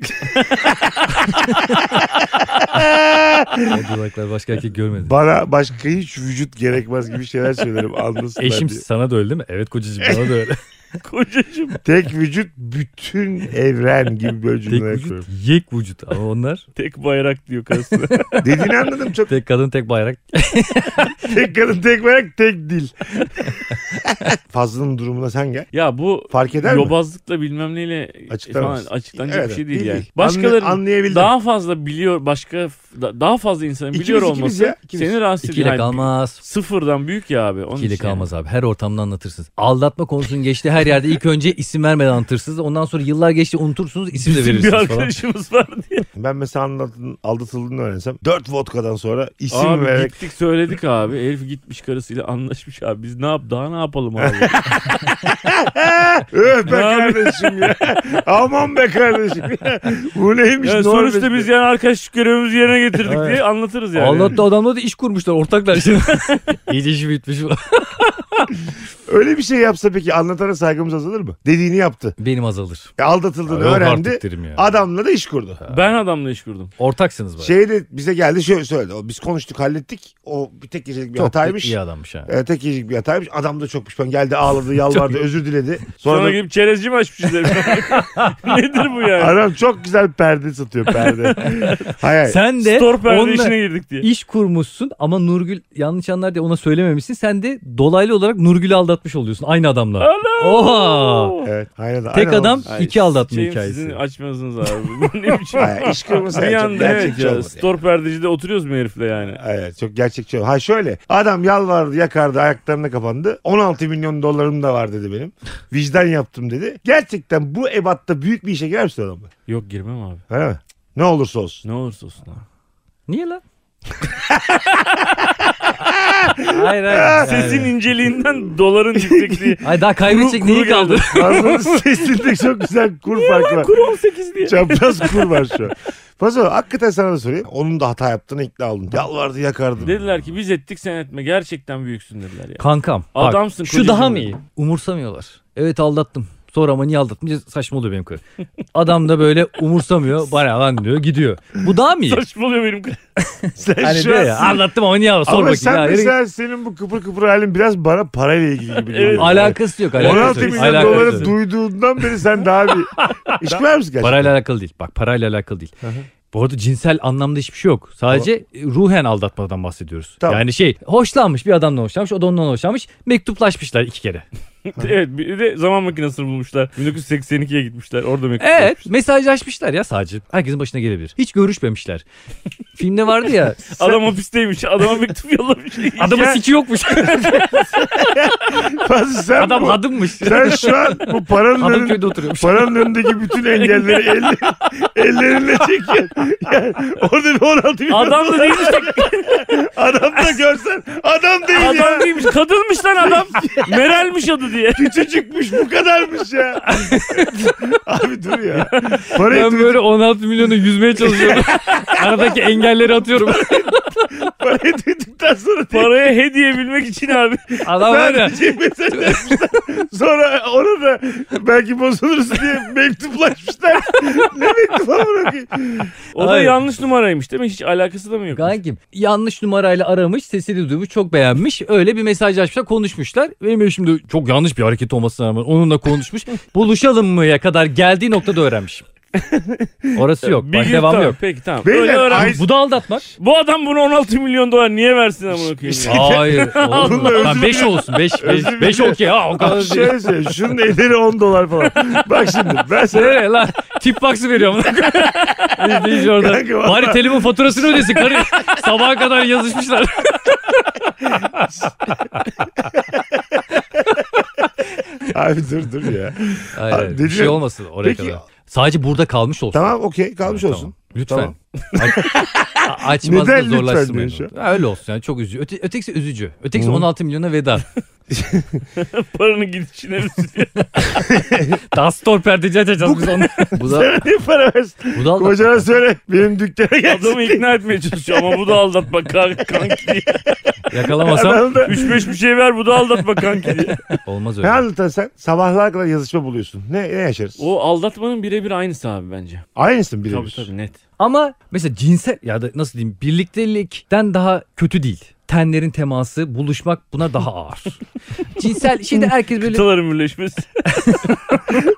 S3: o dudaklar başka erkek görmedi.
S1: Bana başka hiç vücut gerekmez gibi şeyler söylerim. Anlasınlar
S3: Eşim
S1: diye.
S3: sana da öyle değil mi? Evet kocacığım bana da öyle.
S2: Kocacığım.
S1: Tek vücut bütün evren gibi böyle
S3: Tek
S1: cümleler
S3: vücut,
S1: kuruyorum.
S3: yek vücut. Ama onlar
S2: Tek bayrak diyor karısına.
S1: Dediğini anladım çok.
S3: tek kadın tek bayrak.
S1: Tek kadın tek bayrak tek dil. Fazlının durumuna sen gel.
S2: ya bu
S1: Fark eder mi?
S2: yobazlıkla bilmem neyle
S1: Açıklanamaz.
S2: falan açıklanacak
S1: Evet,
S2: bir şey değil,
S1: değil,
S2: yani.
S1: değil.
S2: Başkaları
S1: Anlay- anlayabildim.
S2: daha fazla biliyor başka da- daha fazla insanın
S1: İkimiz,
S2: biliyor
S1: ikimiz
S2: olması
S1: ya, ikimiz.
S2: seni rahatsız ediyor.
S3: İkiyle
S2: Hayır,
S3: kalmaz.
S2: Sıfırdan büyük ya abi. Onun
S3: İkiyle
S2: için yani.
S3: kalmaz abi. Her ortamda anlatırsınız. Aldatma konusunun geçtiği her yerde ilk önce isim vermeden anlatırsınız. Ondan sonra yıllar geçti unutursunuz isim de
S2: Bizim bir
S3: verirsiniz falan.
S2: arkadaşımız var diye.
S1: Ben mesela anlatın, aldatıldığını öğrensem 4 vodkadan sonra isim
S2: abi
S1: vererek
S2: gittik söyledik abi. Elif gitmiş karısıyla anlaşmış abi. Biz ne yap daha ne yapalım abi?
S1: Öf be
S2: Ne abi?
S1: kardeşim ya. Aman be kardeşim ya. Bu neymiş? Norveç'te?
S2: yani sonuçta biz yani arkadaşlık görevimizi yerine getirdik diye anlatırız yani.
S3: Allah'ta adamla da iş kurmuşlar ortaklar şimdi. İyice işi bitmiş.
S1: Öyle bir şey yapsa peki anlatana saygımız azalır mı? Dediğini yaptı.
S3: Benim azalır.
S1: E, aldatıldığını
S3: Yok
S1: öğrendi.
S3: artık derim ya.
S1: Adamla da iş kurdu.
S2: Ben adamla iş kurdum.
S3: Ortaksınız bari.
S1: Şey de bize geldi şöyle söyledi. O, Biz konuştuk hallettik. O bir tek gecelik bir
S3: Çok da
S1: hataymış.
S3: iyi adammış ha.
S1: E, tek gecelik bir hataymış. Adam da çok pişman. Geldi ağladı yalvardı özür diledi.
S2: Sonra,
S1: Sonra, da-
S2: gidip çerezci mi açmış üzerine? Nedir bu yani?
S1: adam çok güzel perde satıyor perde. Hayır.
S3: Sen de
S2: Store perde
S3: onunla
S2: işine girdik diye.
S3: iş kurmuşsun ama Nurgül yanlış anlar diye ona söylememişsin. Sen de dolaylı olarak Nurgül'ü aldatmış oluyorsun aynı adamla. Oha!
S1: Evet. Aynen,
S3: Tek
S1: aynen
S3: adam
S2: Ay,
S3: iki aldatma
S2: şeyim
S3: hikayesi.
S2: Sizin açmazsınız abi. Bu ne biçim?
S1: Hayır, iş kırması
S2: bir
S1: yani çok
S2: anda evet
S1: gerçekçi
S2: ya.
S1: şey olmadı.
S2: Store perdecide oturuyoruz mu herifle yani?
S1: Evet çok gerçekçi. oldu. Ha şöyle adam yalvardı yakardı ayaklarına kapandı. 16 milyon dolarım da var dedi benim. Vicdan yaptım dedi. Gerçekten bu ebatta büyük bir işe girer misin adamla?
S2: Yok girmem abi.
S1: Öyle mi? Ne olursa olsun.
S2: Ne olursa olsun abi.
S3: Niye lan? hayır hayır.
S2: Sesin inceliğinden doların yüksekliği.
S3: Ay daha kaybedecek
S2: Kuru- kuru
S3: neyi kaldı?
S1: Ağzının sesinde çok güzel kur farkı var.
S2: Kuru 18 diye.
S1: Çapraz kur var şu an. Fazla hakikaten sana da sorayım. Onun da hata yaptığını ikna oldun. Yalvardı yakardı.
S2: Dediler ki biz ettik sen etme. Gerçekten büyüksün dediler ya.
S3: Kankam. bak,
S2: Adamsın
S3: şu daha
S2: kocacığım.
S3: mı iyi? Umursamıyorlar. Evet aldattım. Sonra ama niye aldatmayacağız? Saçma oluyor benim karım. Adam da böyle umursamıyor. Bana lan diyor gidiyor. Bu daha mı iyi?
S2: Saçmalıyor benim kız.
S1: Sen şu
S3: Hani
S1: an-
S3: diyor ya anlattım ama niye sor
S1: Ama
S3: bakayım.
S1: sen
S3: ya.
S1: mesela senin bu kıpır kıpır halin biraz bana parayla ilgili gibi. geliyor.
S2: Evet.
S3: Alakası yok. Alakası
S1: 16
S3: yok.
S1: milyon
S3: Alakası
S1: doları
S3: yok.
S1: duyduğundan beri sen daha bir iş kurar mısın gerçekten?
S3: Parayla alakalı değil. Bak parayla alakalı değil. Bu arada cinsel anlamda hiçbir şey yok. Sadece ruhen aldatmadan bahsediyoruz.
S1: Tamam.
S3: Yani şey hoşlanmış bir adamla hoşlanmış o da ondan hoşlanmış. Mektuplaşmışlar iki kere.
S2: evet bir de zaman makinesini bulmuşlar. 1982'ye gitmişler. Orada mektup
S3: Evet
S2: yapmışlar.
S3: mesajlaşmışlar ya sadece. Herkesin başına gelebilir. Hiç görüşmemişler. Filmde vardı ya.
S2: Adam hapisteymiş. Adama mektup yollamış.
S3: Adamın
S2: Ya,
S3: siki yokmuş.
S1: Fazla sen
S3: Adam
S1: bu-
S3: hadımmış.
S1: Sen şu an bu paranın,
S3: Adam
S1: önün,
S3: köyde oturuyormuş.
S1: paranın önündeki bütün engelleri elle, ellerinle çekiyorsun. Yani orada bir 16 milyon
S2: Adam da değilmiş.
S1: adam da görsen adam değil ya.
S2: Adam değilmiş. Kadınmış lan adam. Meral'miş adı diye.
S1: Küçücükmüş bu kadarmış ya. Abi dur ya. Parayı,
S3: Ben
S1: duy-
S3: böyle 16 milyonu yüzmeye çalışıyorum. Aradaki engelleri atıyorum.
S1: parayı duyduktan sonra
S2: Paraya hediye bilmek için abi.
S3: Adam var ya.
S1: sadece mesaj yazmışlar. şey Sonra ona da belki bozulursun diye mektuplaşmışlar. ne mektuba bırakayım?
S2: O da
S3: Hayır.
S2: yanlış numaraymış değil mi? Hiç alakası da mı yok?
S3: Kankim yanlış numarayla aramış sesini duymuş çok beğenmiş öyle bir mesajlaşmışlar konuşmuşlar. Benim eşim de çok yanlış bir hareket olmasına rağmen onunla konuşmuş. Buluşalım mıya kadar geldiği noktada öğrenmişim. Orası yok. Bak
S2: gün-
S3: devamı
S2: tamam,
S3: yok.
S2: Peki tamam.
S1: Beyler,
S2: Öyle öğren-
S1: ay-
S3: Bu da aldatmak.
S2: Bu adam bunu 16 milyon dolar niye versin amına koyayım? ya?
S3: Hayır. oğlum.
S1: Bununla özür
S3: Lan 5 olsun. 5 5
S1: Özür
S3: 5
S1: dilerim.
S3: okey. Ha o kadar.
S1: Abi Ah, şöyle söyleyeyim. Şunun elleri 10 dolar falan. Bak şimdi ben sana
S3: Nereye lan? Tip box'ı veriyorum. İzleyici orada.
S1: Kanka vallahi-
S3: Bari telefon faturasını ödesin. Karı sabaha kadar yazışmışlar.
S1: Abi dur dur ya.
S3: Hayır, hayır.
S1: Dedi-
S3: bir şey olmasın oraya
S1: Peki-
S3: kadar. Sadece burada kalmış olsun.
S1: Tamam okey kalmış
S3: Tamam.
S1: olsun.
S3: Lütfen.
S1: Tamam.
S3: A-
S1: Neden
S3: Açmaz da
S1: lütfen
S3: zorlaştırmayın.
S1: diyorsun
S3: onu. Ha, Öyle olsun yani çok üzücü. Öte, ötekisi üzücü. Ötekisi
S1: Hı.
S3: 16 milyona veda.
S2: Paranın gidişine mi sürüyor?
S3: Daha store perdeci açacağız biz onu. Bu da,
S1: Sana ne para versin?
S3: bu da aldatma.
S1: Kocana söyle benim dükkana gelsin.
S2: Adamı ikna etmeye çalışıyor ama bu da aldatma kank- kanki diye.
S3: Yakalamasam
S1: Adam da...
S2: 3-5 bir şey ver bu da aldatma kanki diye.
S3: olmaz
S1: Ne
S3: öyle.
S1: anlatan sen? Sabahlara kadar yazışma buluyorsun. Ne, ne yaşarız?
S2: O aldatmanın birebir aynısı abi bence.
S1: Aynısın bile.
S2: Tabii tabii net.
S3: Ama mesela cinsel ya da nasıl diyeyim birliktelikten daha kötü değil. tenlerin teması, buluşmak buna daha ağır. Cinsel şeyde herkes böyle
S2: Kıtaların birleşmesi.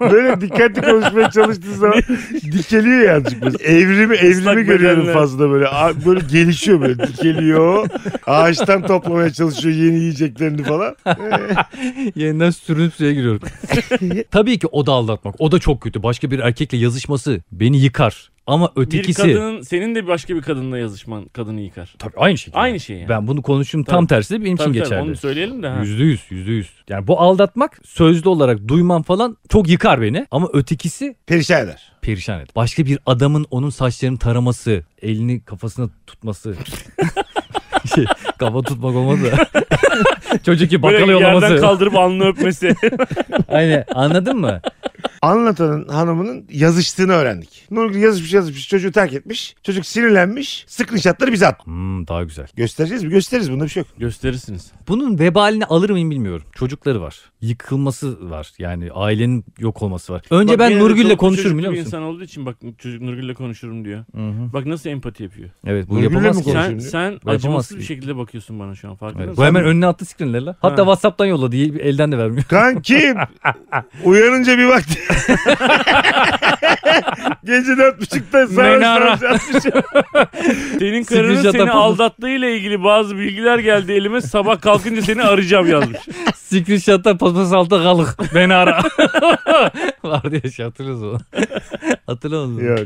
S1: Böyle dikkatli konuşmaya çalıştığı zaman dikeliyor ya azıcık. Böyle. Evrimi,
S2: Islak
S1: evrimi görüyorum
S2: bedenler.
S1: fazla böyle. A- Böyle gelişiyor böyle dikeliyor. Ağaçtan toplamaya çalışıyor yeni yiyeceklerini falan.
S3: yeniden sürünüp suya giriyorum. Tabii ki o da aldatmak. O da çok kötü. Başka bir erkekle yazışması beni yıkar. Ama
S2: bir
S3: ötekisi
S2: kadının senin de başka bir kadınla yazışman kadını yıkar.
S3: tabii aynı şekilde.
S2: Aynı şey yani.
S3: Ben bunu konuştum tam
S2: Tabii.
S3: tersi de benim
S2: Tabii
S3: için
S2: tabii,
S3: geçerli.
S2: Onu söyleyelim de. Ha.
S3: Yüzde yüz, yüzde yüz. Yani bu aldatmak sözlü olarak duymam falan çok yıkar beni. Ama ötekisi
S1: Perişan eder.
S3: perişan et. Başka bir adamın onun saçlarını taraması, elini kafasına tutması. şey, kafa tutmak olmaz da. Çocuk gibi
S2: Böyle
S3: bakkala
S2: yerden
S3: yollaması.
S2: kaldırıp alnını öpmesi.
S3: Aynen anladın mı?
S1: Anlatanın hanımının yazıştığını öğrendik. Nurgül yazışmış yazışmış çocuğu terk etmiş. Çocuk sinirlenmiş. Sıkınşatları bize at.
S3: Hmm, daha güzel.
S1: Göstereceğiz mi? Gösteririz. Bunda bir şey yok.
S2: Gösterirsiniz.
S3: Bunun vebalini alır mıyım bilmiyorum. Çocukları var. Yıkılması var. Yani ailenin yok olması var. Önce
S2: Bak,
S3: ben
S2: yine de
S3: Nurgül'le
S2: çoluk
S3: konuşurum
S2: çocuklu
S3: biliyor
S2: bir
S3: musun?
S2: insan olduğu için bak çocuk Nurgül'le konuşurum diyor.
S3: Hı hı.
S2: Bak nasıl empati yapıyor.
S3: Evet bu
S1: Nurgül'le
S3: yapamaz
S1: mi
S3: ki.
S1: konuşuyorsun?
S2: Sen,
S1: şimdi.
S2: sen
S3: Bu yapamaz
S2: acımasız
S3: ki.
S2: bir şekilde bakıyorsun bana şu an farkında
S3: Evet,
S2: mısın?
S3: bu hemen önüne attı screenleri lan. Hatta
S2: Ha.
S3: Whatsapp'tan yolladı. Elden de vermiyor.
S1: Kankim uyanınca bir bak. Gece dört buçukta
S2: Beni
S1: sarhoş
S2: ara.
S1: sarhoş
S2: Senin karının
S3: Screenshot
S2: seni
S3: yapalım.
S2: aldattığıyla ilgili bazı bilgiler geldi elime. Sabah kalkınca seni arayacağım yazmış.
S3: Screenshot'ta paspas altta kalık. Beni ara. Vardı ya şey hatırlıyoruz onu. Hatırlamadın mı?
S1: Yok.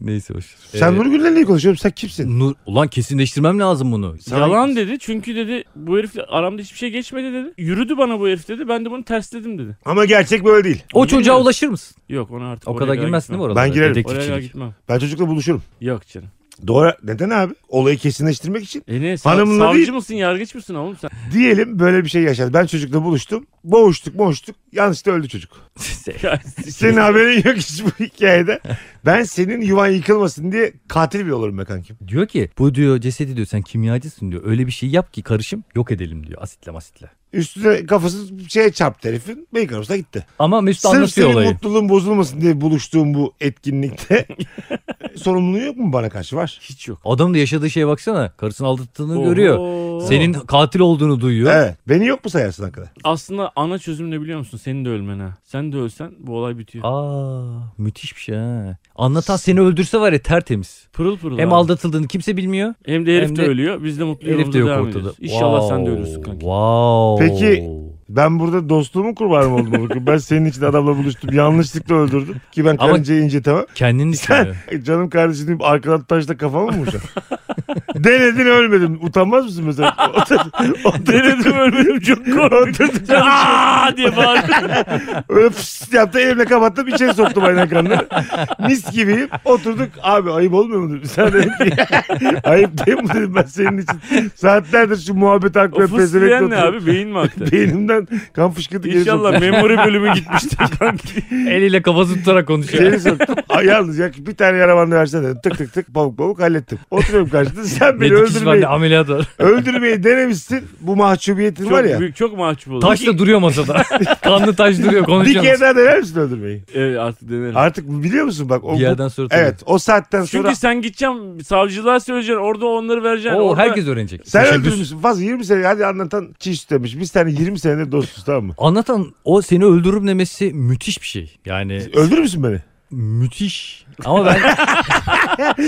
S3: Neyse boş. ver.
S1: Sen
S3: Ee,
S1: Nurgül'le niye konuşuyorsun? Sen kimsin?
S3: Nur, ulan kesinleştirmem lazım bunu.
S1: Sana-
S2: Yalan dedi çünkü dedi bu herifle aramda hiçbir şey geçmedi dedi. Yürüdü bana bu herif dedi. Ben de bunu tersledim dedi.
S1: Ama gerçek böyle değil.
S3: O
S2: Onu
S3: çocuğa
S2: bilmiyorum.
S3: ulaşır mısın?
S2: Yok ona artık
S3: O
S2: oraya
S3: kadar
S2: kadar
S3: girmezsin değil
S2: gitmem.
S3: mi oralara?
S1: Ben girerim.
S2: Oraya kadar
S3: Dedektifçilik.
S2: gitmem.
S1: Ben çocukla buluşurum.
S2: Yok canım.
S1: Doğru. Neden abi? Olayı kesinleştirmek için.
S2: E ne? sa-
S1: Hanımla
S2: savcı
S1: değil.
S2: mısın yargıç mısın oğlum sen?
S1: Diyelim böyle bir şey yaşadı. Ben çocukla buluştum. Boğuştuk boğuştuk. Yanlışta öldü çocuk.
S2: Ya,
S1: Senin haberin yok hiç bu hikayede. Ben senin yuvan yıkılmasın diye katil bile olurum be kankim.
S3: Diyor ki bu diyor cesedi diyor sen kimyacısın diyor. Öyle bir şey yap ki karışım yok edelim diyor asitle masitle.
S1: Üstüne kafası şeye çarptı herifin. Beyik arasına gitti.
S3: Ama Mesut
S1: Sırf
S3: anlatıyor
S1: senin
S3: olayı.
S1: mutluluğun bozulmasın diye buluştuğum bu etkinlikte sorumluluğu yok mu bana karşı var?
S2: Hiç yok.
S3: Adam da yaşadığı şeye baksana. Karısını aldattığını görüyor.
S2: Oho.
S3: Senin katil olduğunu duyuyor.
S1: Evet. Beni yok mu sayarsın hakikaten?
S2: Aslında ana çözüm ne biliyor musun? Senin de ölmen ha. Sen de ölsen bu olay bitiyor.
S3: Aa müthiş bir şey ha. Anlatan seni öldürse var ya tertemiz.
S2: Pırıl pırıl.
S3: Hem
S2: abi.
S3: aldatıldığını kimse bilmiyor.
S2: Hem de herif
S3: hem
S2: de,
S3: de-
S2: ölüyor. Biz de mutlu
S3: Elif
S2: yolumuza
S3: de yok
S2: devam
S3: ortada.
S2: ediyoruz. İnşallah sen de
S3: Wow,
S2: ölürsün kanka.
S3: Wow.
S1: Peki- Ben burada dostumun kurbanı oldum. Bakın ben senin için adamla buluştum. Yanlışlıkla öldürdüm. Ki ben
S3: Ama-
S1: karıncayı incitemem.
S3: Kendini düşünüyor.
S1: Canım kardeşim deyip arkadan taşla kafama mı vuracaksın? Denedin ölmedim. Utanmaz mısın mesela?
S2: Denedim ölmedim çok korktum. Aa diye bağırdım.
S1: Öyle fıs yaptı elimle kapattım içeri soktum aynen kanını. Mis gibiyim. Oturduk abi ayıp olmuyor mu dedim. Sen dedin ki ayıp değil mi dedim ben senin için. Saatlerdir şu muhabbet
S2: O
S1: hakkında
S2: fıs
S1: pezevekle
S2: diyen ne
S1: oturuyorum.
S2: abi? Beyin mi aktı?
S1: Beynimden kan fışkırdı geri soktum.
S2: İnşallah memori bölümü gitmiştir kanki.
S3: Eliyle kafası tutarak konuşuyor.
S1: Geri soktum. Ay, yalnız ya bir tane yara bandı versene dedim. Tık tık tık pamuk pamuk hallettim. Oturuyorum karşında sen beni
S3: ne dikiş var
S1: öldürmeyi,
S3: ne ameliyat var.
S1: öldürmeyi denemişsin. Bu mahcubiyetin
S2: Çok
S1: var ya.
S2: büyük, çok mahcup oldum.
S3: Taş da duruyor masada. Kanlı taş duruyor
S1: Bir
S3: konuşuyor.
S1: kere daha dener misin öldürmeyi?
S2: Evet artık denerim.
S1: Artık biliyor musun bak. O,
S3: Bir yerden sonra tabii.
S1: evet o saatten sonra
S2: Çünkü sen gideceksin savcılığa söyleyeceksin orada onları vereceksin.
S3: Oo,
S2: orada...
S3: herkes öğrenecek.
S1: Sen
S3: Teşebbüs.
S1: öldürmüşsün. Fazla 20 sene hadi anlatan çiğ süt demiş. Biz seninle 20 senedir dostuz tamam mı?
S3: Anlatan o seni öldürürüm demesi müthiş bir şey. Yani
S1: Öldürür müsün beni?
S3: müthiş. Ama ben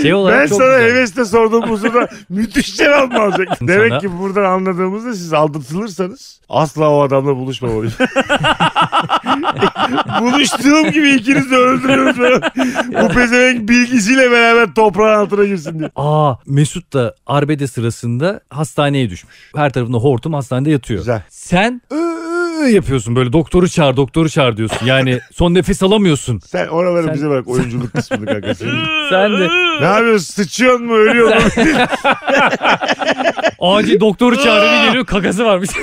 S3: şey olarak
S1: ben
S3: çok
S1: sana
S3: güzel.
S1: hevesle sorduğum bu soruda müthiş cevap mı alacak?
S3: Sana-
S1: Demek ki buradan anladığımızda siz aldatılırsanız asla o adamla buluşmamalıyım. Buluştuğum gibi ikiniz de öldürürüz. bu pezevenk bilgisiyle beraber toprağın altına girsin diye.
S3: Aa Mesut da arbede sırasında hastaneye düşmüş. Her tarafında hortum hastanede yatıyor.
S1: Güzel.
S3: Sen "Iı, ıı" yapıyorsun böyle doktoru çağır doktoru çağır diyorsun. Yani son nefes alamıyorsun.
S1: Sen oraları
S3: Sen-
S1: bize bırak oyunculuk kısmını kanka. Sen-
S3: Sen de
S1: ne yapıyorsun? Sıçıyorsun mu? Ölüyor mu?
S3: acil doktoru çağırıyor bir geliyor kakası varmış.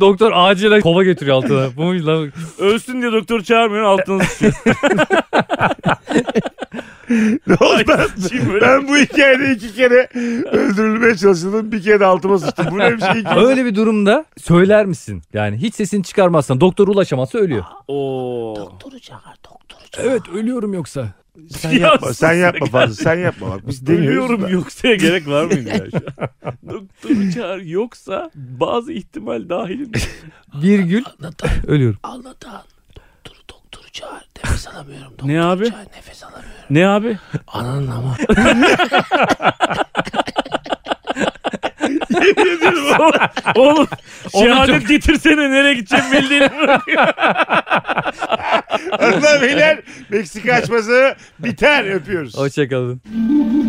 S3: Doktor acilen kova getiriyor altına. Bu muydu lan?
S2: Ölsün diye doktor çağırmıyor altına sıçıyor.
S1: Ne oldu? lan?
S2: Kim böyle?
S1: Ben bu hikayede iki kere öldürülmeye çalışıldım. Bir kere de altıma sıçtım. Bu ne bir şey ki?
S3: Öyle bir durumda söyler misin? Yani hiç sesini çıkarmazsan doktor ulaşamazsa ölüyor.
S2: Oo.
S3: Evet ölüyorum yoksa.
S1: Sen yapma, sen yapma fazla, sen yapma bak. Biz demiyoruz
S2: Ölüyorum
S1: da.
S2: yoksa gerek var mıydı ya şu an? Doktoru çağır yoksa bazı ihtimal dahilinde.
S3: Virgül ölüyorum.
S4: Anlatan. Doktoru doktoru çağır. Nefes alamıyorum. Doktoru
S2: Ne abi?
S4: çağır. Nefes alamıyorum.
S2: Ne abi?
S4: Ananın ama.
S2: Oğlum
S3: Onu
S2: şehadet
S3: çok-
S2: getirsene nereye gideceğim belli değil.
S1: Hanımlar beyler Meksika açması biter öpüyoruz.
S3: Hoşçakalın.